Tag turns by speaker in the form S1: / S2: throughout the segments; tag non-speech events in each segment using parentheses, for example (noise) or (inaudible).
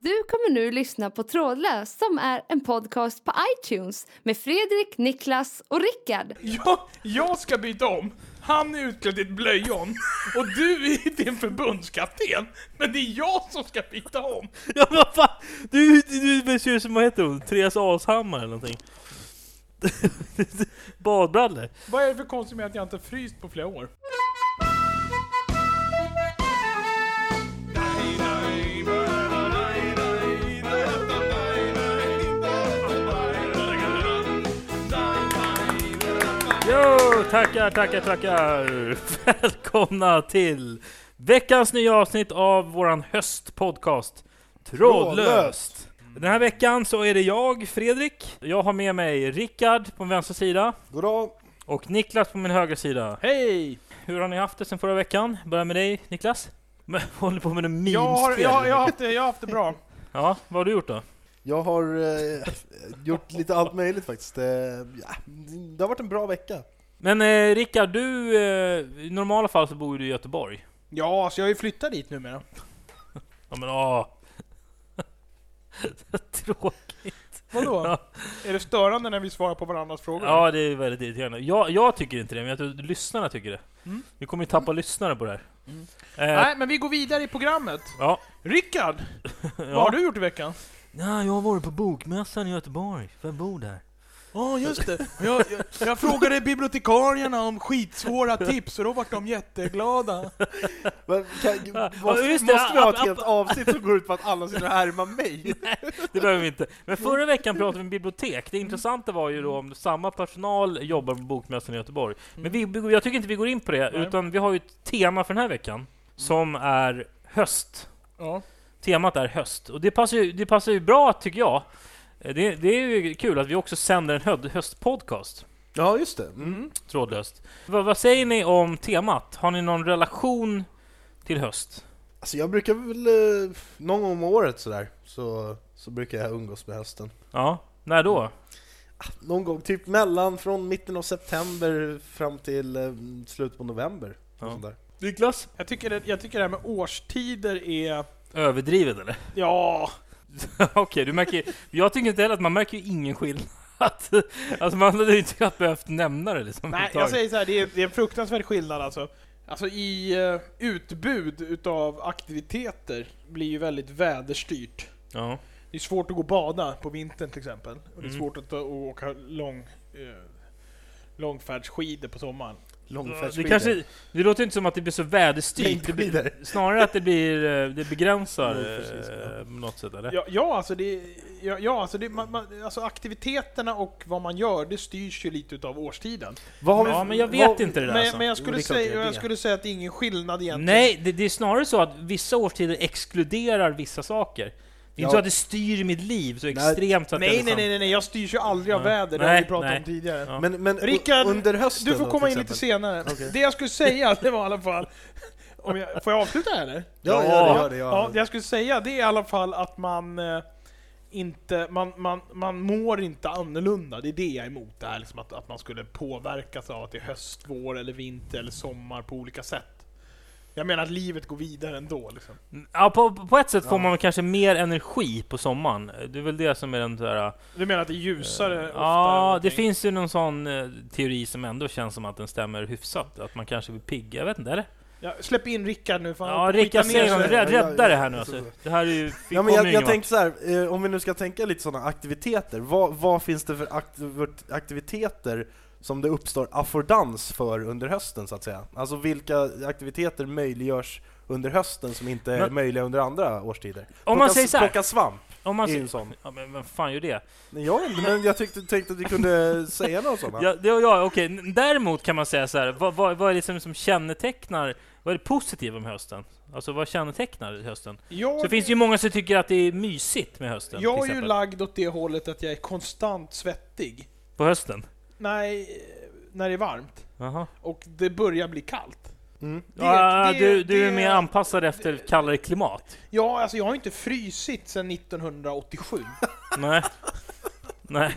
S1: Du kommer nu lyssna på Trådlös som är en podcast på iTunes med Fredrik, Niklas och Rickard.
S2: Jag, jag ska byta om. Han är utklädd i ett blöjon och du är din förbundskapten. Men det är jag som ska byta om.
S3: (laughs) Ja vad fan! Du, du, du ser ut som, vad heter hon? Therese Alshammar eller någonting. (laughs) Badbrallor.
S2: Vad är det för konstigt med att jag inte har fryst på flera år?
S3: Jo, tackar, tackar, tackar! (laughs) Välkomna till veckans nya avsnitt av våran höstpodcast Trådlöst! Den här veckan så är det jag, Fredrik. Jag har med mig Rickard på min vänstra sida
S4: Goddag!
S3: och Niklas på min högra sida.
S2: Hej!
S3: Hur har ni haft det sen förra veckan? Börjar med dig, Niklas. (laughs) Men, håller på med en meme
S2: Jag har, jag, har- jag, har haft det, jag har haft det bra.
S3: Ja, vad har du gjort då?
S4: Jag har eh, gjort lite allt möjligt faktiskt. Eh, ja, det har varit en bra vecka.
S3: Men eh, Rickard, du... Eh, I normala fall så bor ju du i Göteborg.
S2: (laughs) Ja, så jag har ju flyttat dit numera.
S3: Ja men åh! Tråkigt.
S2: Vadå?
S3: Ja.
S2: Är det störande när vi svarar på varandras frågor?
S3: Ja, det är väldigt irriterande. Jag, jag tycker inte det, men jag tror att lyssnarna tycker det.
S2: Mm.
S3: Vi kommer ju tappa lyssnare på det här. Eh,
S2: Nej, men vi går vidare i programmet.
S3: Ja.
S2: (laughs) Rickard,
S3: ja.
S2: vad har du gjort i veckan?
S3: Ja, jag har varit på bokmässan i Göteborg, för jag bor där.
S2: Ja, just det. Jag, jag, jag frågade bibliotekarierna om skitsvåra tips och då vart de jätteglada.
S4: Men kan, måste,
S3: just det,
S4: måste vi ha
S3: app-
S4: ett helt avsnitt som går ut på att alla sitter och härmar mig?
S3: Det behöver vi inte. Men förra veckan pratade vi om bibliotek. Det intressanta var ju då om samma personal jobbar på bokmässan i Göteborg. Men vi, vi- jag tycker inte vi går in på det,
S2: Nej.
S3: utan vi har ju ett tema för den här veckan, som är höst.
S2: Ja.
S3: Temat är höst, och det passar ju, det passar ju bra tycker jag. Eh, Det, det är ju kul att vi också sänder en hö- höstpodcast,
S4: Ja, just det.
S2: Mm.
S3: trådlöst. Vad- vad säger ni om temat? Har ni någon relation till höst?
S4: Alltså jag brukar väl, eh, någon gång om året sådär, så, så brukar jag umgås med hösten.
S3: Ja, när då?
S4: Någon gång typ mellan, från mitten av september fram till eh, slutet på november.
S3: Ja.
S4: Ja. Sånt där.
S3: Niklas?
S2: Jag, tycker det, jag tycker det här med årstider är...
S3: Överdrivet eller?
S2: Ja,
S3: (laughs) Okej, du märker Jag tycker inte heller att man märker ju ingen skillnad. (laughs) alltså man hade ju inte knappt behövt nämna det liksom.
S2: nej jag säger så här, det är, det är en fruktansvärd skillnad alltså. Alltså i eh, utbud utav aktiviteter blir ju väldigt väderstyrt.
S3: Ja.
S2: Det är svårt att gå och bada på vintern till exempel. Och det är
S3: Mm.
S2: svårt att, att åka lång, eh, långfärdsskidor på sommaren.
S3: Det,
S4: Långfärdsskidor.
S3: kanske, det låter inte som att det blir så väderstyrt. Det blir,
S4: Längdskidor.
S3: snarare att det blir, eh, det begränsar
S4: Jo, precis, ja.
S3: eh, på något sätt eller?
S2: Ja, ja alltså, det, ja, ja alltså, det, man, man, alltså aktiviteterna och vad man gör, det styrs ju lite utav årstiden.
S4: Vad har vi
S3: Ja
S4: för-
S3: men jag
S4: vad-
S3: vet inte det där
S2: Men,
S3: alltså.
S2: men jag,
S4: Jo,
S2: skulle
S4: det är klart det är
S2: säga, jag
S4: det.
S2: skulle säga att det är ingen skillnad egentligen.
S3: Nej, det, det är snarare så att vissa årstider exkluderar vissa saker. Det är
S4: Ja.
S3: inte så att det styr mitt liv så
S4: Nej.
S3: extremt så att
S2: Nej,
S3: jag
S2: nej,
S3: liksom-
S2: nej, nej, nej, jag styrs ju aldrig av
S3: Ja.
S2: väder, det har vi
S3: Nej,
S2: pratat
S3: nej.
S2: om tidigare.
S3: Ja.
S4: Men, men
S2: Rickard,
S4: under hösten
S2: Du får
S4: då,
S2: komma
S4: till
S2: in lite
S4: exempel?
S2: senare.
S4: Okej.
S2: Det jag skulle säga, (laughs) det var i alla fall... Om jag, får jag avsluta här, eller?
S4: Ja,
S3: Ja.
S4: gör det, gör det,
S2: Ja,
S4: gör
S2: det
S4: det.
S2: jag skulle säga det är i alla fall att man eh, inte, man, man, man mår inte annorlunda. Det är det jag är emot det här, liksom att, att man skulle påverkas av att det är höst, vår, eller vinter eller sommar på olika sätt. Jag menar att livet går vidare ändå. Liksom.
S3: Ja, på, på ett sätt får
S4: Ja.
S3: man väl kanske mer energi på sommaren. Det är väl det som är den där...
S2: Du menar att det är ljusare? oftare
S3: Eh, Ja, det
S2: någonting?
S3: finns ju någon sån eh, teori som ändå känns som att den stämmer hyfsat. Att man kanske blir pigg, jag vet inte, eller?
S2: Ja, släpp in Rickard nu, fan.
S3: Ja,
S2: Skita
S3: Rickard
S2: ner
S3: säger
S2: sig.
S3: något. Rädd,
S4: Ja, ja,
S3: rädda det
S4: ja,
S3: här nu
S4: alltså.
S3: alltså. Det här är ju... vi
S4: Ja,
S3: kommer
S4: men jag,
S3: ju
S4: jag
S3: ingen
S4: tänkte så här, eh, om vi nu ska tänka lite sådana aktiviteter, vad, vad finns det för aktiv- aktiviteter som det uppstår affordans för under hösten så att säga? Alltså vilka aktiviteter möjliggörs under hösten som inte är
S3: Men-
S4: möjliga under andra årstider? Om
S3: vart. Om man säger så här,
S4: Plocka svamp
S3: om man
S4: är ju
S3: säger...
S4: en sån.
S3: Ja, men vem fan gör det?
S4: Nej, jag vet inte, men jag tyckte, tänkte att
S3: (laughs)
S4: du kunde säga några sådana.
S3: Ja, det, ja, okej. N- Däremot kan man säga så här, vad, vad, vad är det som, som kännetecknar, vad är det positiva med hösten? Alltså vad kännetecknar hösten?
S2: Jag,
S3: Så det finns det ju många som tycker att det är mysigt med hösten. till
S2: jag är ju
S3: exempel.
S2: lagd åt det hållet att jag är konstant svettig.
S3: På hösten?
S2: Nej, när det är varmt.
S3: Jaha.
S2: Och det börjar bli kallt.
S4: Mm.
S2: Det-
S3: ja,
S2: det-
S3: du, du är
S2: det-
S3: mer anpassad efter kallare klimat?
S2: Ja, alltså jag har ju inte frysit sedan
S3: (laughs)
S2: 1987.
S3: Nej. Nej,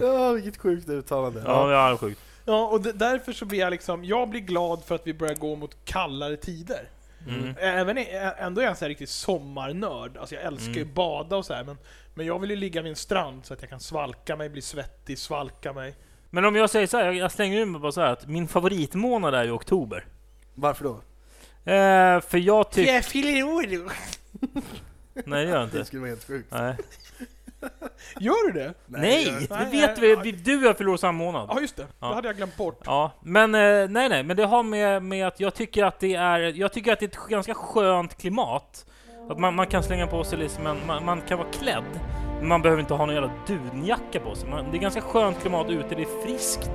S4: Ja, vilket sjukt uttalande.
S3: ja, ja, det är sjukt.
S2: Ja, och d- därför så blir jag liksom, jag blir glad för att vi börjar gå mot kallare tider.
S3: Mm.
S2: Även, i- ändå är jag en sån här riktig sommarnörd. Alltså jag älskar
S3: Mm.
S2: ju bada och så här, men, men jag vill ju ligga vid en strand så att jag kan svalka mig, bli svettig, svalka mig.
S3: Men om jag säger så här, jag- jag slänger ur mig bara så här att min favoritmånad är ju oktober.
S4: Varför då?
S3: Eh, för jag tycker...
S2: Jag fyller år!
S3: Nej det gör jag inte.
S4: (laughs) skulle vara helt sjukt.
S3: Nej,
S2: Gör du det?
S3: nej
S2: Nej,
S3: det vet vi. vi. Du och jag förlorar samma månad.
S2: Ja, just det.
S3: Ja.
S2: Det hade jag glömt bort.
S3: Ja, men eh, nej, nej, men det har med, med att jag tycker att det är, jag tycker att det är ett ganska skönt klimat. Att man, man kan slänga på sig liksom en, man, man kan vara klädd, men man behöver inte ha någon jävla dunjacka på sig. Man, det är ganska skönt klimat ute, det är friskt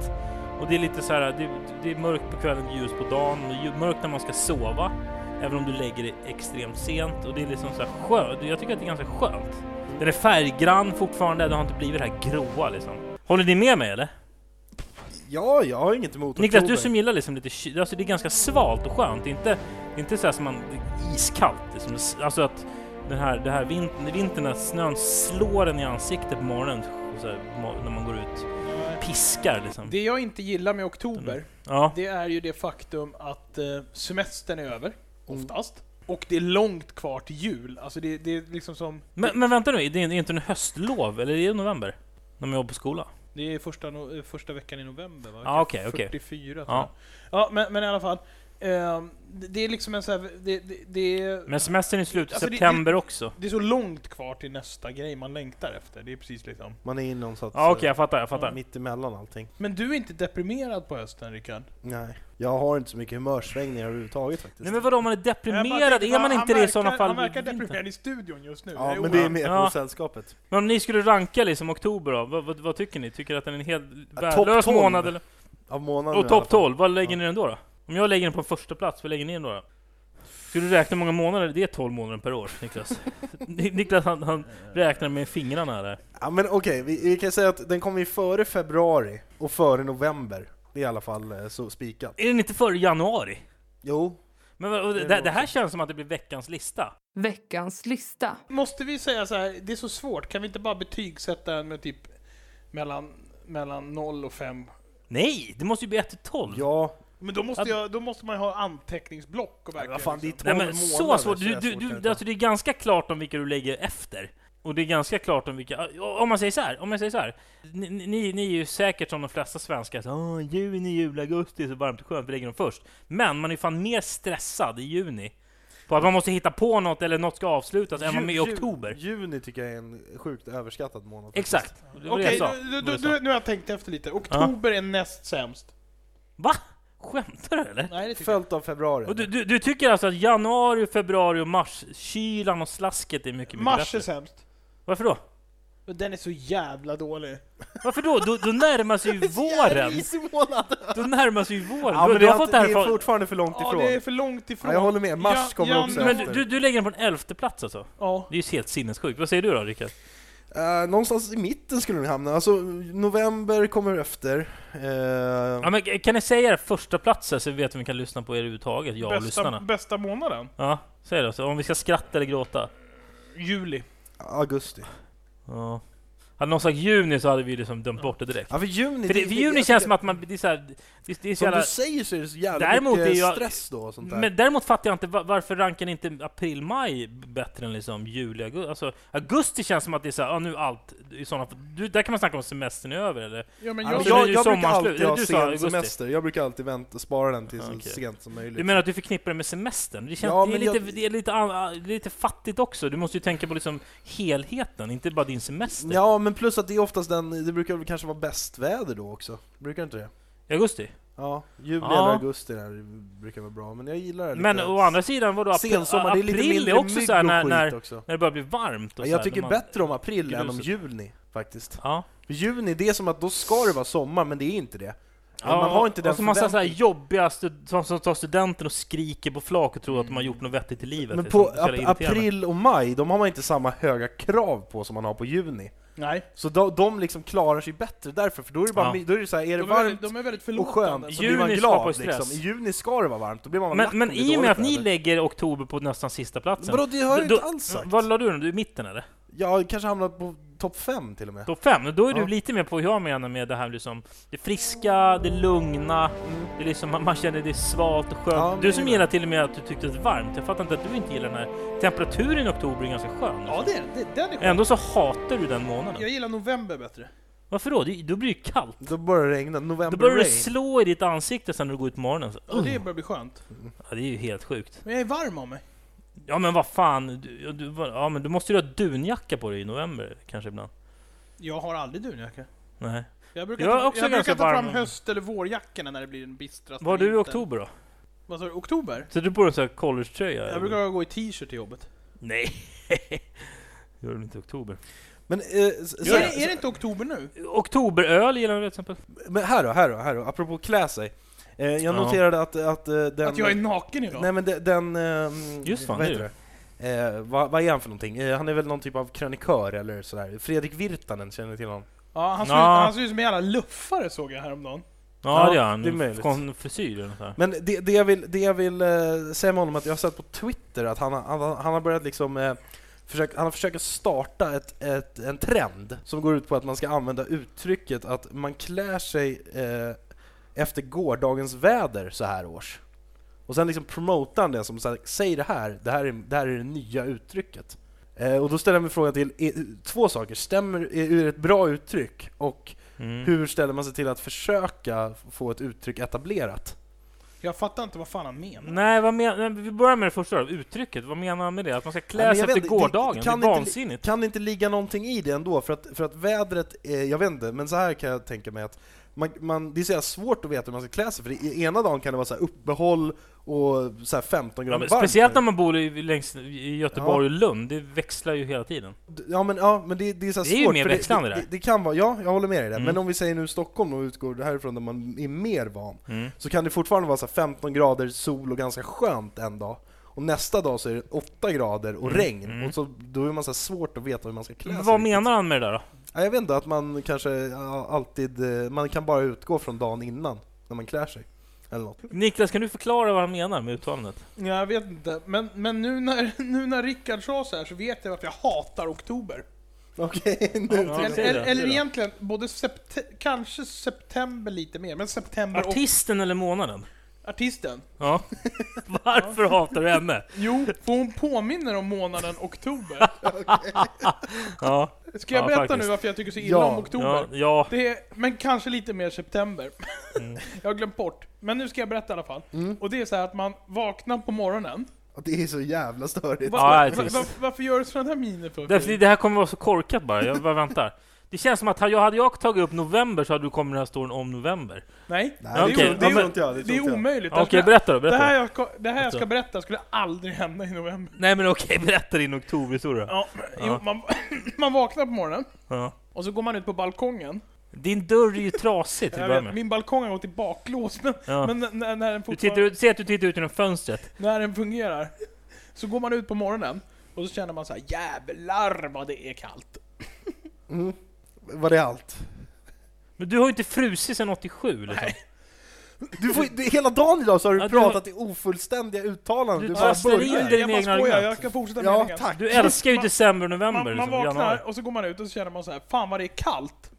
S3: och det är lite så här, det, det är mörkt på kvällen, ljus på dagen, och ju- mörkt när man ska sova, även om du lägger det extremt sent och det är liksom så här skönt. Jag tycker att det är ganska skönt. Den är färggrann fortfarande, det har inte blivit det här gråa liksom. Håller ni med mig eller?
S4: Ja, jag har inget emot
S3: Niklas,
S4: oktober.
S3: du som gillar liksom lite kyl, alltså det är ganska svalt och skönt. Det är inte, det är inte så här som man, iskallt. Liksom. Alltså att den här, det här vintern, vintern när snön slår en i ansiktet på morgonen så här, ma- när man går ut. Piskar liksom.
S2: Det jag inte gillar med
S3: Mm.
S2: oktober,
S3: Ja.
S2: det är ju det faktum att eh, semestern är över,
S3: Mm.
S2: oftast. Och det är långt kvar till jul. Alltså det, det är liksom som...
S3: Men, men vänta nu, det är inte en höstlov, eller är det november? När man jobbar på skola?
S2: Det är första, no, eh, första veckan i november va?
S3: Ja, okej, okej.
S2: 44 tror jag.
S3: Ja.
S2: Ja, men, men i alla fall. ehm, det, det är liksom en så här, det, det, det, är-
S3: Men semestern är slut i
S2: Alltså, det-
S3: september också.
S2: det är så långt kvar till nästa grej man längtar efter. Det är precis liksom.
S4: Man är inom så att
S3: Ja okej, jag fattar, jag fattar.
S4: mitt emellan allting.
S2: Men du är inte deprimerad på hösten Rickard?
S4: Nej. Jag har inte så mycket humörsvängningar överhuvudtaget faktiskt.
S3: Nej men vadå, om man är
S2: Jag bara
S3: deprimerad?
S2: tänkte,
S3: Är man
S2: han
S3: inte det i
S2: verkar-
S3: sådana fall?
S2: Han verkar
S3: vid vintern?
S2: deprimerad i studion just nu.
S4: Ja,
S2: är
S4: men det är
S2: oerhört.
S4: mer
S3: Ja.
S4: på sällskapet.
S3: Men om ni skulle ranka liksom oktober då, vad, vad, vad tycker ni? Tycker att den är en helt
S4: topp
S3: värdelös
S4: 12.
S3: månad eller?
S4: Av månaden i
S3: Och
S4: alla
S3: topp
S4: fall.
S3: 12, vad lägger ni den då, då? Om jag lägger den på första plats, vad lägger ni den då? då? Ska du räkna hur många månader? Det är 12 månader per år, Niklas.
S4: (laughs)
S3: Ni- Niklas han, han räknar med fingrarna här.
S4: Ja men okej, vi, vi kan säga att den kommer ju före februari och före november. Det är i alla fall eh, så spikat.
S3: Är den inte före januari?
S4: Jo,
S3: Men vad- och
S4: är
S3: det, det här
S4: också.
S3: känns som att det blir veckans lista.
S1: Veckans lista.
S2: Måste vi säga så här, det är så svårt. Kan vi inte bara betygsätta den med typ mellan, mellan 0 och 5?
S3: Nej, det måste ju bli 1 till 12.
S4: ja,
S2: Men då måste, jag, då måste man ju ha anteckningsblock och verkligen...
S4: vad fan, det är
S2: liksom-
S3: Nej
S4: 12
S3: men så
S4: månader.
S3: svårt.
S4: så är
S3: Du,
S4: det
S3: du,
S4: svårt att
S3: du,
S4: ta.
S3: alltså det är ganska klart om vilka du lägger efter. Och det är ganska klart om vilka, om man säger så här, om man säger så här. Ni, ni, ni är ju säkert som de flesta svenskar, så, Åh, juni, juli, augusti, så varmt och skönt, vi lägger dem först. Men man är ju fan mer stressad i juni. På att man måste hitta på något eller något ska avslutas än man är i
S4: Ju- ju-
S3: oktober.
S4: Juni tycker jag är en sjukt överskattad månad. faktiskt.
S3: Exakt. Det var det
S2: Okej,
S3: jag sa.
S2: nu,
S3: Det var
S2: nu,
S3: det jag
S2: nu,
S3: sa.
S2: nu har jag tänkt efter lite. Oktober är näst sämst.
S3: Va? Skämtar du eller?
S2: Nej, det tycker jag.
S4: Följt av februari.
S3: Och du, du, du tycker alltså att januari, februari och mars, kylan och slasket är mycket, mycket
S2: Mars är
S3: bättre?
S2: sämst.
S3: Varför då?
S2: Men Den är så jävla dålig.
S3: Varför då? Då, då närmar sig ju våren!
S4: Risig månad!
S3: Då närmar sig ju våren.
S4: Ja,
S3: du,
S4: men
S3: du
S4: det,
S3: har
S4: är,
S3: fått
S4: fått
S3: det här
S4: det är
S3: från...
S4: fortfarande för långt
S2: Ja,
S4: ifrån.
S2: det är för långt ifrån.
S4: Ja, jag håller med. Mars
S2: Ja,
S4: kommer
S2: ja,
S4: också
S2: men
S3: Men
S4: efter.
S3: du, du lägger den på en elfte plats alltså?
S2: Ja.
S3: Det är ju helt sinnessjukt. Vad säger du då Rickard?
S4: Eh, någonstans i mitten skulle den hamna. Alltså, november kommer efter. Eh,
S3: Ja, men kan ni säga er första platsen så vi vet om vi kan lyssna på er överhuvudtaget, jag och
S2: Bästa,
S3: lyssnarna?
S2: bästa månaden?
S3: Ja, säg då. Så om vi ska skratta eller gråta?
S2: Juli.
S4: Augusti.
S3: Ja. Hade någon sagt juni så hade vi liksom dömt bort det direkt.
S4: Ja, för juni...
S3: För, det,
S4: det-
S3: för
S4: det-
S3: juni
S4: jag
S3: känns
S4: tycker-
S3: som att man... Det är så här, det, det är så
S4: Som
S3: jävla,
S4: du säger så är det så jävla
S3: Däremot
S4: mycket
S3: är jag-
S4: stress då och sånt där.
S3: men däremot fattar jag inte va- varför rankar ni inte april, maj bättre än liksom juli, augusti? Alltså, augusti känns som att det är såhär, ja nu allt, i sådana fall- du, där kan man snacka om semestern är över eller?
S2: Ja, men
S4: Ja,
S2: jag,
S3: Alltså, nu är
S4: jag,
S3: det
S4: jag brukar
S3: sommarslut.
S4: alltid ha
S3: Du sa
S4: sen
S3: augusti.
S4: semester, jag brukar alltid vänta, spara den till så
S3: Ja, okej.
S4: sent som möjligt.
S3: Du menar att du förknippar det med semestern? Det, känns,
S4: Ja,
S3: det, är
S4: men
S3: lite,
S4: jag-
S3: det är lite, an- det är lite fattigt också, du måste ju tänka på liksom helheten, inte bara din semester.
S4: Ja, men plus att det är oftast den, det brukar väl kanske vara bäst väder då också. Brukar inte det?
S3: I augusti.
S4: Ja, juli
S3: Ja.
S4: eller augusti där brukar vara bra, men jag gillar det
S3: Men
S4: lite.
S3: å andra sidan, vadå? April,
S4: Sensommar, det är lite
S3: april
S4: mindre
S3: är också
S4: mygg
S3: så här
S4: och
S3: när,
S4: skit
S3: när,
S4: också.
S3: när det börjar bli varmt. Och
S4: Ja,
S3: så
S4: jag
S3: här,
S4: tycker
S3: när man,
S4: bättre om april än om
S3: Gruset.
S4: juni, faktiskt.
S3: Ja.
S4: För juni, det är som att då ska det vara sommar, men det är inte det.
S3: Ja,
S4: man har inte
S3: och
S4: den
S3: så massa så här
S4: förväntningen.
S3: jobbiga stud- som, som tar studenten och skriker på flak och tror att de har gjort något vettigt i livet.
S4: Men
S3: Det är
S4: på
S3: så- så jävla
S4: ap-
S3: irriterande.
S4: april och maj, de har man inte samma höga krav på som man har på juni.
S2: nej.
S4: Så de, de liksom klarar sig bättre därför, för då är det bara
S3: Ja.
S4: my- då är det så här, är det
S2: De är,
S4: varmt
S2: väldigt, de är väldigt
S4: och skönt
S2: förlåtande.
S4: så blir man
S3: Juni
S4: glad
S3: skapar stress.
S4: liksom. I juni ska det vara varmt, då blir man
S3: Men,
S4: lack om
S3: men
S4: det är
S3: i och med
S4: dåligt
S3: att ni
S4: väder.
S3: lägger oktober på nästan sista platsen.
S4: Vadå, det har jag
S3: då-
S4: inte alls sagt!
S3: Vad la du den? Du är i mitten eller?
S4: Jag har kanske hamnat på topp fem till och med.
S3: Topp 5, då är
S4: Ja.
S3: du lite mer på hur jag menar med det här liksom Det friska, det lugna, det är liksom, man, man känner det är svalt och skönt.
S4: Ja, men
S3: du
S4: det
S3: som
S4: är
S3: gillar till och med att du tyckte det var varmt, jag fattar inte att du inte gillar den här temperaturen i oktober är ganska skön. alltså.
S2: Ja, det, det, den är skön.
S3: Ändå så hatar du den månaden.
S2: Jag gillar november bättre.
S3: Varför då? Det, då blir det ju kallt.
S4: Då börjar det regna,
S3: Då
S4: november
S3: börjar det
S4: rain.
S3: slå i ditt ansikte sen när du går ut på morgonen. Så,
S2: Och det börjar bli skönt.
S3: ja, det är ju helt sjukt.
S2: Men jag är varm av mig.
S3: Ja men vad fan, du, ja, du, ja, men du måste ju ha dunjacka på dig i november kanske ibland.
S2: Jag har aldrig dunjacka.
S3: Nej.
S2: Jag brukar,
S3: Jag är
S2: ta,
S3: också
S2: jag brukar
S3: ganska
S2: ta fram
S3: varm.
S2: höst eller vårjackorna när det blir den bistraste
S3: Var du i
S2: vintern.
S3: oktober då?
S2: Vad sa du? Oktober?
S3: Så du på dig en sån här collegetröja?
S2: Jag brukar gå i t-shirt till jobbet.
S3: Nej! (laughs) Gör du inte i oktober?
S4: Men, eh, s-
S2: Är
S4: så här,
S2: det, är det inte oktober nu?
S3: Oktoberöl gillar du till exempel?
S4: men här då, här då, här då, apropå klä sig. Eh, jag
S3: Ja.
S4: noterade att, att eh, den...
S2: Att jag är naken idag?
S4: Nej men de- den... ehm,
S3: Just fan,
S4: vad
S3: det är
S4: heter det? Eh, vad, vad är han för någonting? Eh, han är väl någon typ av krönikör eller sådär. Fredrik Virtanen, känner ni till honom?
S2: Ja, han ser,
S3: Ja.
S2: Ut, han ser ut som en jävla luffare såg jag häromdagen.
S3: Ja,
S4: Ja,
S3: det gör han.
S4: det är möjligt.
S3: Kon- frisyr eller nåt där.
S4: Men det, det jag vill, det jag vill eh, säga med honom är att jag har sett på Twitter att han har, han, har- han har börjat liksom eh, försöka, han har försökt starta ett, ett, en trend som går ut på att man ska använda uttrycket att man klär sig eh, efter gårdagens väder så här års. Och sen liksom promotar han det som så här, säg det här, det här är det, här är det nya uttrycket. Eh, och då ställer jag mig frågan till är, två saker, stämmer, är, är det ett bra uttryck? Och
S3: Mm.
S4: hur ställer man sig till att försöka få ett uttryck etablerat?
S2: Jag fattar inte vad fan han menar.
S3: Nej, vad men... Nej, vi börjar med det första då. Uttrycket, vad menar han med det? Att man ska klä
S4: Nej, men
S3: sig
S4: jag
S3: efter
S4: vet inte, det-
S3: gårdagen? Det,
S4: kan
S3: är
S4: inte-
S3: vansinnigt.
S4: Kan det inte ligga någonting i det ändå? För att, för att vädret, är, jag vet inte, men så här kan jag tänka mig att man, man, det är så jävla svårt att veta hur man ska klä sig, för i ena dagen kan det vara så här uppehåll och så här 15
S3: Ja,
S4: grader
S3: men
S4: varmt.
S3: speciellt när man bor i, längs, i Göteborg och Lund, det växlar ju hela tiden.
S4: Ja men, ja, men det, det är så här
S3: Det är ju
S4: svårt,
S3: mer
S4: för
S3: växlande
S4: det,
S3: där.
S4: det, det kan vara, ja, jag håller med dig där.
S3: Mm.
S4: Men om vi säger nu Stockholm och utgår härifrån där man är mer van,
S3: Mm.
S4: så kan det fortfarande vara så här 15 grader sol och ganska skönt en dag. Och nästa dag så är det 8 grader och
S3: Mm.
S4: regn,
S3: Mm.
S4: och så, då är man så här svårt att veta hur man ska klä sig.
S3: Vad
S4: riktigt.
S3: menar han med det där då?
S4: Ja, jag vet inte, att man kanske ja, alltid, eh, man kan bara utgå från dagen innan när man klär sig. Eller något.
S3: Niklas, kan du förklara vad han menar med uttalandet?
S2: Ja, jag vet inte. Men, men nu när, (laughs) nu när Rickard sa så här så vet jag att jag hatar oktober.
S4: (laughs) Okej, nu.
S3: Ja,
S2: eller,
S3: säg det,
S2: eller,
S3: säg
S2: eller
S3: det.
S2: egentligen både septe- kanske september lite mer, men september
S3: Artisten eller månaden?
S2: och artisten.
S3: Ja. (laughs) Varför hatar du henne?
S2: Jo, för hon påminner om månaden oktober.
S3: Ja,
S2: Ska jag
S3: Ja,
S2: berätta
S3: faktiskt.
S2: nu varför jag tycker så illa
S4: Ja,
S2: om oktober?
S3: ja, ja.
S2: Det är, men kanske lite mer september.
S3: Mm.
S2: (laughs) jag har glömt bort. Men nu ska jag berätta i alla fall. Och det är så här att man vaknar på morgonen.
S4: Och Det är så jävla störigt.
S2: Va,
S3: Ja,
S2: va,
S3: det är
S2: va,
S3: trist.
S2: varför- varför gör du sådana här miner för?
S3: Därför det- det här kommer vara så korkat bara, jag bara väntar. Det känns som att ha- jag hade jag tagit upp november så hade du kommit med den här storyn om november.
S2: Nej,
S4: Nej,
S2: det, är,
S3: okej.
S2: o- det,
S4: Ja,
S2: är,
S4: men-
S2: o- det är omöjligt.
S3: Okej,
S2: Därför jag-
S3: berätta då,
S2: det
S3: berätta.
S2: här, jag, ska- det här jag ska berätta skulle aldrig hända i november.
S3: Nej men okej, berätta din oktoberhistoria.
S2: Ja, Jo,
S3: Ja.
S2: man, (laughs) man vaknar på morgonen,
S3: Ja.
S2: och så går man ut på balkongen.
S3: Din dörr är ju trasig till
S2: Jag
S3: att börja
S2: vet,
S3: med.
S2: min balkong har gått i baklås, men,
S3: Ja.
S2: men när- när, när den
S3: Du
S2: fortfarande...
S3: tittar, ut- ser att du tittar ut genom fönstret.
S2: när den fungerar. Så går man ut på morgonen och så känner man så här: jävlar vad det är kallt.
S4: Mm. Var det allt?
S3: Men du har ju inte frusit sedan 87 liksom.
S4: Du får, du, hela dagen idag så har du
S3: Ja, du-
S4: pratat i ofullständiga uttalanden.
S3: Du
S4: Du bara
S3: trasslar in
S4: börjar.
S3: dig. dina
S2: jag bara
S3: egna
S2: skojar,
S3: argument.
S2: jag ska fortsätta
S4: Ja,
S2: meningen.
S4: tack.
S3: Du älskar ju
S2: Man-
S3: december och november
S2: Man, man
S3: liksom,
S2: vaknar
S3: januari.
S2: och så går man ut och så känner man så här: fan vad det är kallt.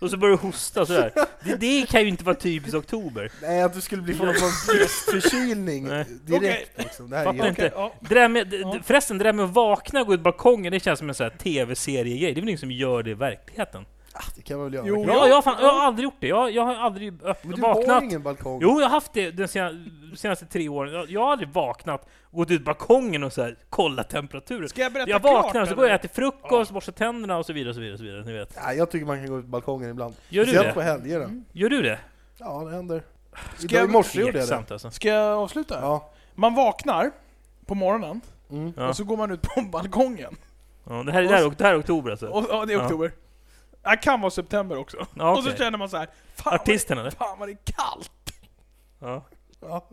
S3: Och så börjar du hosta sådär. Det, det kan ju inte vara typiskt oktober.
S4: Nej, att du skulle bli från någon
S3: (laughs)
S4: förkylning
S3: Nej.
S4: direkt. Liksom. Det här är
S3: Fattar
S4: helt...
S3: inte.
S2: ja.
S3: Det där med, d- d- förresten, det där med att vakna och gå ut på balkongen, det känns som en sån här TV-serie-grej. Det är väl ingen som gör det i verkligheten?
S4: Ah, det kan man väl göra?
S2: Jo.
S3: Ja, jag, har fan, jag har aldrig gjort det. Jag, jag har aldrig öpp-
S4: Men du har
S3: vaknat.
S4: ingen balkong?
S3: Jo, jag har haft det de senaste, de senaste tre åren. Jag, jag har aldrig vaknat, gått ut på balkongen och så här, kollat temperaturen.
S2: Ska jag berätta
S3: Jag
S2: klart,
S3: vaknar och så
S2: eller?
S3: går jag och äter frukost, borstar tänderna och så vidare, och så vidare, och så vidare. Ni vet.
S4: Nej, jag tycker man kan gå ut på balkongen ibland.
S3: Gör du
S4: Speciellt
S3: det?
S4: på helgerna.
S3: Gör du det?
S4: Ja, det händer.
S2: Ska
S4: Idag, I
S2: jag-
S4: morse gjorde jag det.
S3: Tveksamt alltså.
S2: Ska jag avsluta?
S4: Ja.
S2: Man vaknar på morgonen
S4: Mm.
S3: Ja.
S2: och så går man ut på (laughs) balkongen.
S3: Ja, det, här, är- det, här, är- det här är oktober alltså.
S2: Och, ja, det är
S3: Ja.
S2: oktober. Det kan vara september också.
S3: Ja,
S2: Och så
S3: okej.
S2: känner man så här: fan, vad det,
S3: Artisten eller?
S2: fan vad det är kallt.
S3: Ja.
S4: Ja.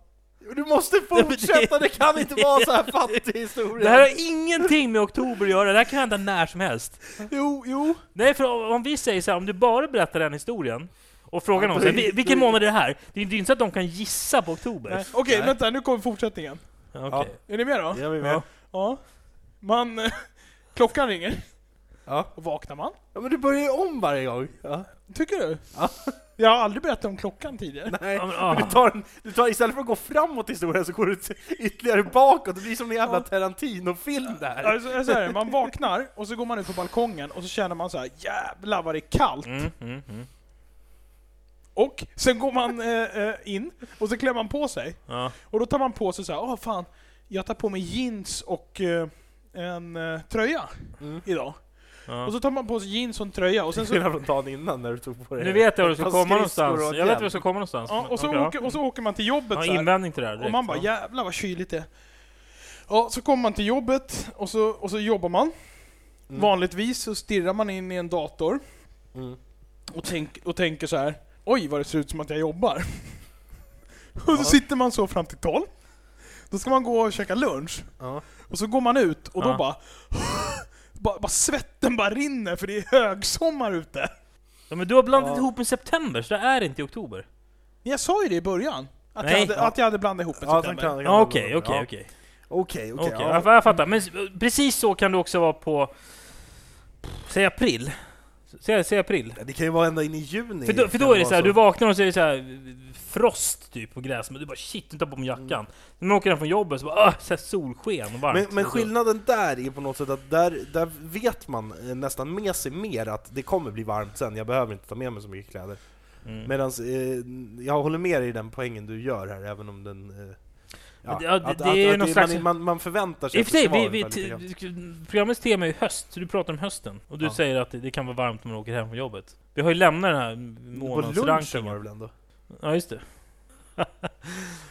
S4: Du
S3: (laughs)
S4: måste fortsätta, det kan inte vara så här fattig historia!
S3: Det här har ingenting med oktober att göra, det här kan hända när som helst.
S2: Jo, jo.
S3: Nej, för om om vi säger så här, om du bara berättar den historien och frågar
S4: Ja,
S3: någon
S4: då
S3: så
S4: är
S3: här,
S4: det-
S3: "Vil- vilken månad är det här? Det är inte så att de kan gissa på oktober.
S2: Nej. Okej,
S4: Nej.
S2: vänta, nu kommer fortsättningen.
S3: Ja, okej.
S2: Är ni med då?
S4: Jag
S3: Ja.
S2: Ja. Man... (laughs) Klockan ringer.
S4: Ja.
S2: Och vaknar man.
S4: ja, men du börjar ju om varje gång. Ja.
S2: Tycker du?
S4: Ja.
S2: Jag har aldrig berättat om klockan tidigare.
S4: Nej,
S3: Ja, men,
S4: men
S3: ah.
S4: du tar, en- du tar, istället för att gå framåt i historien så går du t- ytterligare bakåt, det blir som en jävla
S2: Ja.
S4: Tarantino-film där.
S2: Alltså, så här, man vaknar och så går man ut på balkongen och så känner man så här jävlar vad det är kallt.
S3: Mm, mm, mm.
S2: Och sen går man eh, eh, in och så klär man på sig.
S3: Ja.
S2: Och då tar man på sig så här, åh fan, jag tar på mig jeans och eh, en eh, tröja
S4: Mm.
S2: idag.
S3: Ja.
S2: Och så tar man på sig jeans och en tröja och sen så,
S4: Skillnad från dagen innan när du tog på dig
S3: Nu vet jag var du ska
S4: Fast
S3: komma
S4: skridskor
S3: någonstans.
S4: och
S3: Jag vet var du
S4: hjälm.
S3: ska komma någonstans.
S2: ja, och så,
S3: Okej, ja.
S2: åker, och så åker man till jobbet
S3: Jag har
S2: så här.
S3: invändning till det här direkt.
S2: Och man bara
S3: ja.
S2: jävlar vad kyligt det är. Ja, så kommer man till jobbet och så, och så jobbar man.
S4: Mm.
S2: Vanligtvis så stirrar man in i en dator och, tänk, och tänker så här. Oj vad det ser ut som att jag jobbar. (laughs) Och så
S4: Ja.
S2: sitter man så fram till 12. Då ska man gå och käka lunch.
S4: Ja.
S2: Och så går man ut och då
S3: Ja.
S2: bara, (gasps) bara... Bara svetten bara rinner för det är högsommar ute.
S3: Ja, men du har blandat
S4: Ja.
S3: ihop med september, så det är inte i oktober.
S2: Men Jag sa ju det i början. Att, jag
S3: Nej.
S2: hade, att jag hade blandat ihop med
S4: Ja, den
S2: september.
S4: kan- den kan-
S3: Ja, Okej, okej,
S4: ja.
S3: okej.
S4: Okej, okej.
S3: Okej,
S4: ja.
S3: jag, jag fattar. Men s- precis så kan du också vara på... Säg april. Säg, säg april.
S4: Det kan ju vara ända in i juni.
S3: För då, för då
S4: kan
S3: är det
S4: vara
S3: så här, du vaknar och så är det så här frost typ på gräs, men du bara shit, du tar på mig jackan. När man åker hem från jobbet så bara ah, så här solsken och varmt.
S4: Men, men skillnaden där är på något sätt att där, där vet man eh, nästan med sig mer att det kommer bli varmt sen, jag behöver inte ta med mig så mycket kläder.
S3: Mm.
S4: Medan eh, jag håller med dig i den poängen du gör här, även om den... Eh,
S3: Men det- ja, det- det är ju någon
S4: man-
S3: slags-
S4: man, man förväntar sig
S3: I och för sig, vi, vi,
S4: ungefär lite grann.
S3: t- programmets tema är ju höst, så du pratar om hösten. Och du
S4: Ja.
S3: säger att det, det kan vara varmt när man åker hem från jobbet. Vi har ju lämnat den här
S4: På lunchen var det
S3: månadsrankingen.
S4: väl ändå?
S3: Ja, just det.
S4: (laughs)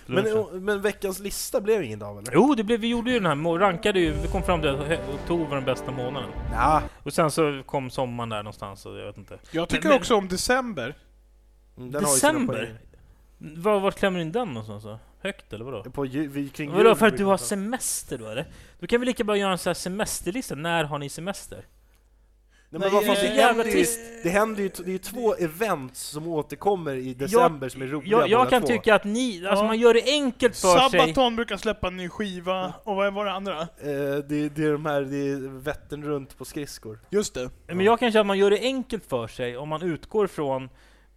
S4: Men,
S3: Lunchen.
S4: o- men veckans lista blev ingen av eller?
S3: Jo, det blev, vi gjorde ju den här, må- rankade ju, vi kom fram till att hö- oktober var den bästa månaden.
S4: Nja.
S3: Och sen så kom sommaren där någonstans, och jag vet inte.
S2: Jag tycker
S3: Men- men-
S2: också om december.
S4: mm, Den Har ju
S3: December?
S4: sina
S3: Var, vart klämmer du in den någonstans då? Högt eller vadå?
S4: poäng. på ju, vi, kring
S3: Vadå,
S4: jul
S3: för att
S4: brukar
S3: du
S4: vi
S3: har
S4: ta-
S3: semester då eller? Då kan vi lika bra göra en sån här semesterlista, när har ni semester?
S4: Nej,
S2: Nej,
S4: men vad fan,
S2: eh,
S4: det,
S3: jävla
S4: händer ju,
S3: trist.
S4: det händer ju, t- det är ju två event som återkommer i december som är roliga
S3: Jag, jag
S4: båda
S3: kan
S4: två.
S3: tycka att ni, alltså
S2: Ja.
S3: man gör det enkelt för sig.
S2: Sabaton brukar släppa en ny skiva, och vad var det andra?
S4: Eh, det, det är de här, det är Vättern runt på skridskor.
S2: Just det.
S3: Men jag kan känna att man gör det enkelt för sig om man utgår från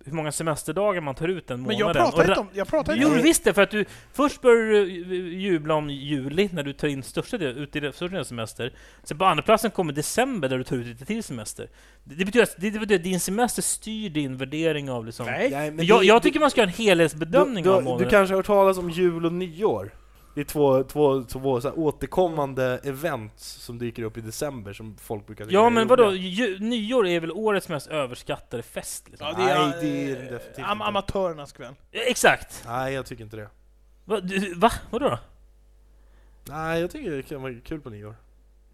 S3: hur många semesterdagar man tar ut den
S2: Men
S3: månaden.
S2: jag
S3: och
S2: pratar
S3: ra-
S2: inte om... Jag pratar inte
S3: Jo
S2: om...
S4: Nej.
S3: visst det, för att du först börjar du eh, jubla om juli när du tar in största del, ut i det- största delen av semester. Sen på andra platsen kommer december där du tar ut lite till semester. Det, det, betyder, att, det, det betyder att din semester styr din värdering av liksom...
S2: Nej.
S4: Nej, men
S3: jag,
S4: det-
S3: jag
S4: det-
S3: tycker man ska göra en helhetsbedömning
S4: du,
S3: av
S4: du,
S3: månaden.
S4: du kanske har hört talas om jul och nyår? Det är två, två, två så här återkommande event som dyker upp i december som folk brukar tycka
S3: Ja
S4: är
S3: men
S4: roliga.
S3: vadå, ju, nyår är väl årets mest överskattade fest liksom.
S2: Ja, det är,
S4: Nej, det är det definitivt
S2: am-
S4: inte.
S2: Amatörernas kväll.
S3: Eh, Exakt!
S4: Nej, jag tycker inte det.
S3: Va? Du, va? Vadå då?
S4: Nej, jag tycker det kan vara kul på nyår.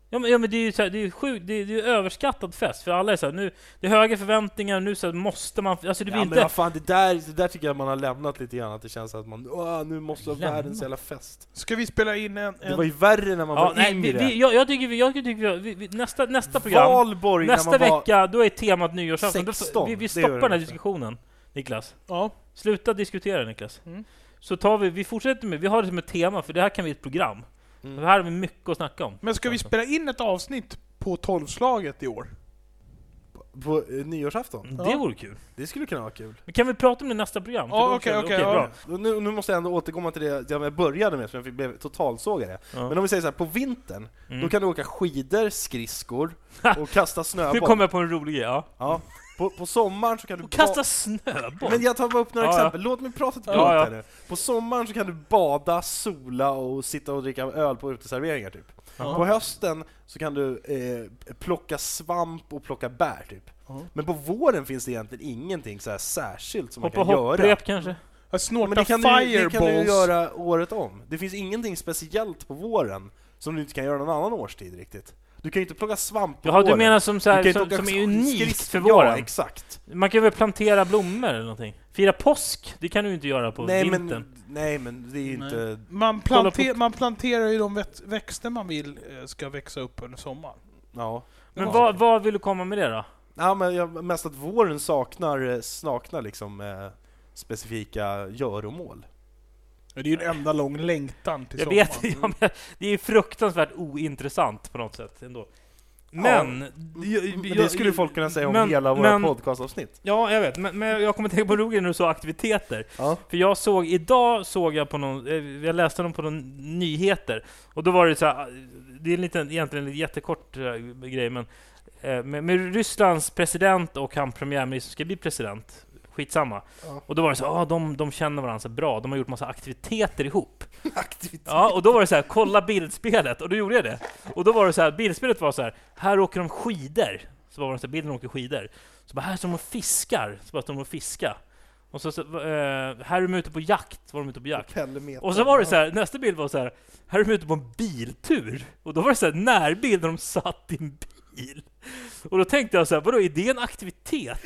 S3: Ja men, ja, men det är ju så här, det är ju sjukt, det är, det är ju överskattad fest för alla är såhär nu, det är höga förväntningar, nu så här, måste man, alltså det blir
S4: ja,
S3: inte...
S4: men vad fan, det där, det där tycker jag man har lämnat lite grann, att det känns att man Åh, nu måste ha
S3: Lämnat?
S4: världens jävla fest.
S2: Ska vi spela in en...
S4: Det
S2: en
S4: var ju värre när man
S3: Ja,
S4: var
S3: nej, vi,
S4: yngre.
S3: vi, jag, jag tycker vi, jag tycker vi, vi, vi nästa, nästa program,
S4: Valborg
S3: nästa
S4: när man var...
S3: vecka, då är temat nyårsafton. Då-
S4: 16,
S3: vi, vi
S4: det
S3: stoppar
S4: gör
S3: den här
S4: det.
S3: diskussionen, Niklas.
S2: ja.
S3: Sluta diskutera Niklas.
S2: Mm.
S3: Så tar vi, vi fortsätter med, vi har det som ett tema, för det här kan vi i ett program.
S4: Mm.
S3: Det här har vi mycket att snacka om.
S2: Men ska vi spela in ett avsnitt på tolvslaget i år?
S4: På eh, nyårsafton?
S3: Det vore kul.
S4: Det skulle kunna vara kul.
S3: Men kan vi prata om det i nästa program? För
S2: Ja,
S3: då
S2: okej,
S3: kör vi.
S2: okej,
S3: bra.
S4: Och Nu, nu måste jag ändå återkomma till det jag började med, som jag fick- blev totalsågare.
S3: Ja.
S4: Men om vi säger så här, på vintern,
S3: Mm.
S4: då kan du åka skidor, skridskor
S3: (laughs)
S4: och kasta snöboll.
S3: Nu kommer jag på en rolig grej, ja.
S4: ja. på, på sommaren så kan du...
S3: Och
S4: ba-
S3: kasta snöboll!
S4: Men jag tar bara upp några
S3: Ja, ja.
S4: exempel, låt mig prata till
S3: Ja,
S4: punkt
S3: ja.
S4: här nu. På sommaren så kan du bada, sola och sitta och dricka öl på uteserveringar typ.
S2: Ja.
S4: På hösten så kan du eh, plocka svamp och plocka bär typ.
S2: Ja.
S4: Men på våren finns det egentligen ingenting så här särskilt som
S3: Hoppa
S4: man kan göra.
S3: hopprep kanske?
S2: Att
S4: Ja,
S2: snorta
S4: Men det kan, du, det
S2: fireballs?
S4: kan du ju göra året om. Det finns ingenting speciellt på våren som du inte kan göra någon annan årstid riktigt. Du kan ju inte plocka svamp på
S3: Jaha, du
S4: våren.
S3: menar som, så
S4: Du kan
S3: här,
S4: inte
S3: som,
S4: åka
S3: som är
S4: sk-
S3: unikt
S4: skridsk-
S3: för
S4: Ja,
S3: våren?
S4: exakt.
S3: Man kan väl plantera blommor eller någonting? Fira påsk, det kan du ju inte göra på
S4: Nej
S3: vintern.
S4: men, nej men det är ju
S2: Nej.
S4: inte...
S2: Man,
S3: Kolla
S2: plante man planterar ju de växt- växter man vill eh, ska växa upp under sommaren.
S4: Ja.
S3: Men
S4: Ja.
S3: vad, vad vill du komma med det då?
S4: Ja, men jag, mest att våren saknar, eh, saknar liksom eh, specifika göromål.
S2: Det är ju en enda lång längtan till
S3: Jag (laughs)
S2: sommaren.
S3: vet, ja, men det är fruktansvärt ointressant på något sätt ändå. Men... jag-
S4: Men
S3: jag-
S4: det skulle folk kunna säga om
S3: men-
S4: hela våra
S3: men-
S4: podcastavsnitt.
S3: Ja, jag vet. Men, men jag kommer tänka på Roger när du sa aktiviteter.
S4: Ja.
S3: För jag såg, idag såg jag på någon, eh, jag läste någon på någon nyheter. Och då var det så här, eh, det är en liten, egentligen en jättekort eh, grej, men eh, med, med Rysslands president och han premiärminister som ska bli president, skitsamma.
S4: Ja.
S3: Och då var det så här, ah, de, de känner varandra så bra, de har gjort massa aktiviteter ihop. Ja, och då var det så här, kolla bildspelet, och då gjorde jag det. Och då var det så här, bildspelet var så här, här åker de skidor. Så var det så här, bilden åker skidor. Så bara, här står de och fiskar. Så bara står de och fiska. Och så, så eh, här är de ute på jakt, var de ute på jakt. Och så var det så här, nästa bild var så här, här är de ute på en biltur. Och då var det så här, närbild när de satt i en bil. Och då tänkte jag så här, vadå, är det en aktivitet?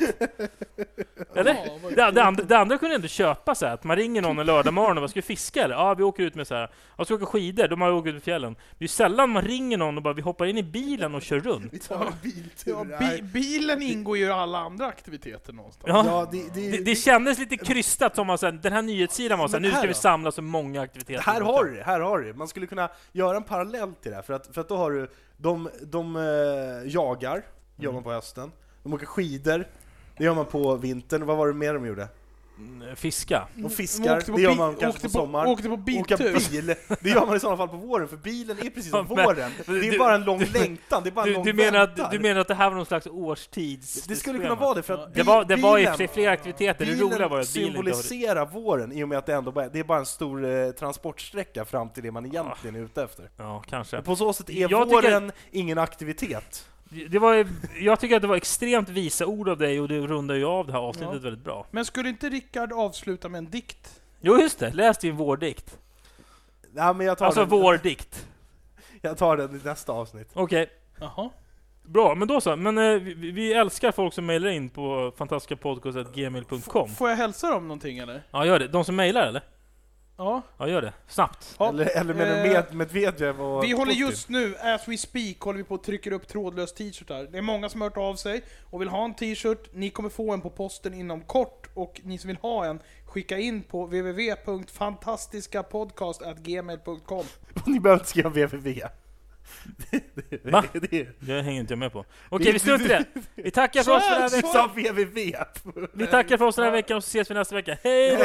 S3: Eller? Det, det, andra, det andra kunde jag inte köpa så här, att man ringer någon en lördag morgon och bara, ska vi fiska eller? Ja, vi åker ut med så här, jag ska åka skidor, de har åkt ut i fjällen. Det är ju sällan man ringer någon och bara, vi hoppar in i bilen och kör runt.
S5: Vi tar en biltur.
S2: Ja, bi bilen ingår ju i alla andra aktiviteter någonstans.
S3: Ja.
S5: Ja, det, det,
S3: Det, det kändes lite krystat som att så här, den här nyhetssidan var så här,
S4: Men
S3: nu ska
S4: här
S3: vi
S4: då?
S3: samla så många aktiviteter.
S4: Här har du det, här har du det. Man skulle kunna göra en parallell till det här, för att, för att då har du, de, de eh, jagar, gör
S3: Mm.
S4: man på hösten. De åker skidor, det gör man på vintern. Vad var det mer de gjorde?
S3: Mm, Fiska.
S4: De
S2: Man
S4: fiskar,
S2: åkte på
S4: det gör
S2: bi-
S4: man kanske
S2: åkte
S4: på sommaren.
S2: Åkte på
S4: Åka
S2: biltur.
S4: bil, det gör man i sådana fall på våren, för bilen är precis som
S3: Ja, men-
S4: våren. Det
S3: du-
S4: är bara en lång
S3: du-
S4: längtan, det är bara en
S3: Du,
S4: lång
S3: du, menar
S4: väntan.
S3: att, du menar att det här var någon slags årstids...
S4: Det skulle kunna
S3: schema?
S4: vara det, för att
S3: Det var, det var i och
S4: bilen-
S3: för sig flera aktiviteter, det roliga var att bilen inte har...
S4: symboliserar våren i och med att det ändå bara, det är bara en stor eh, transportsträcka fram till det man egentligen är ute efter.
S3: Ja, kanske.
S4: Och på så sätt är
S3: Jag tycker-
S4: våren ingen aktivitet.
S3: Det var, jag tycker att det var extremt visa ord av dig och det rundar ju av det här avsnittet
S2: Ja.
S3: väldigt bra.
S2: Men skulle inte Rickard avsluta med en dikt?
S3: Jo, just det! Läs din vårdikt.
S4: Nej, men jag tar,
S3: Alltså
S4: den,
S3: vårdikt.
S4: (laughs) jag tar den i nästa avsnitt.
S3: Okej.
S2: Jaha.
S3: Bra, men då så. Men eh, vi, vi älskar folk som mejlar in på fantastiskapodcast.gmail.com.
S2: Får jag hälsa dem någonting eller?
S3: Ja, gör det. De som mejlar, eller?
S2: Ja.
S3: Ja, gör det. Snabbt.
S2: Ja.
S4: Eller, eller menar du
S2: Eh,
S4: med, Medvedev och
S2: Vi håller
S4: Putin?
S2: just nu, as we speak, håller vi på och trycker upp trådlös t-shirtar. Det är många som har hört av sig och vill ha en t-shirt. Ni kommer få en på posten inom kort och ni som vill ha en, skicka in på www.fantastiskapodcast.gmail.com
S4: (laughs) Ni behöver inte skriva www. Det,
S3: Va?
S4: (laughs) det, det,
S3: Det hänger inte jag med på. Okej, vi struntar i
S4: (laughs)
S3: det. Vi tackar för oss för den här
S4: det
S3: veckan.
S4: sa www!
S3: Vi tackar för oss den här veckan och så ses vi nästa vecka. Hej då!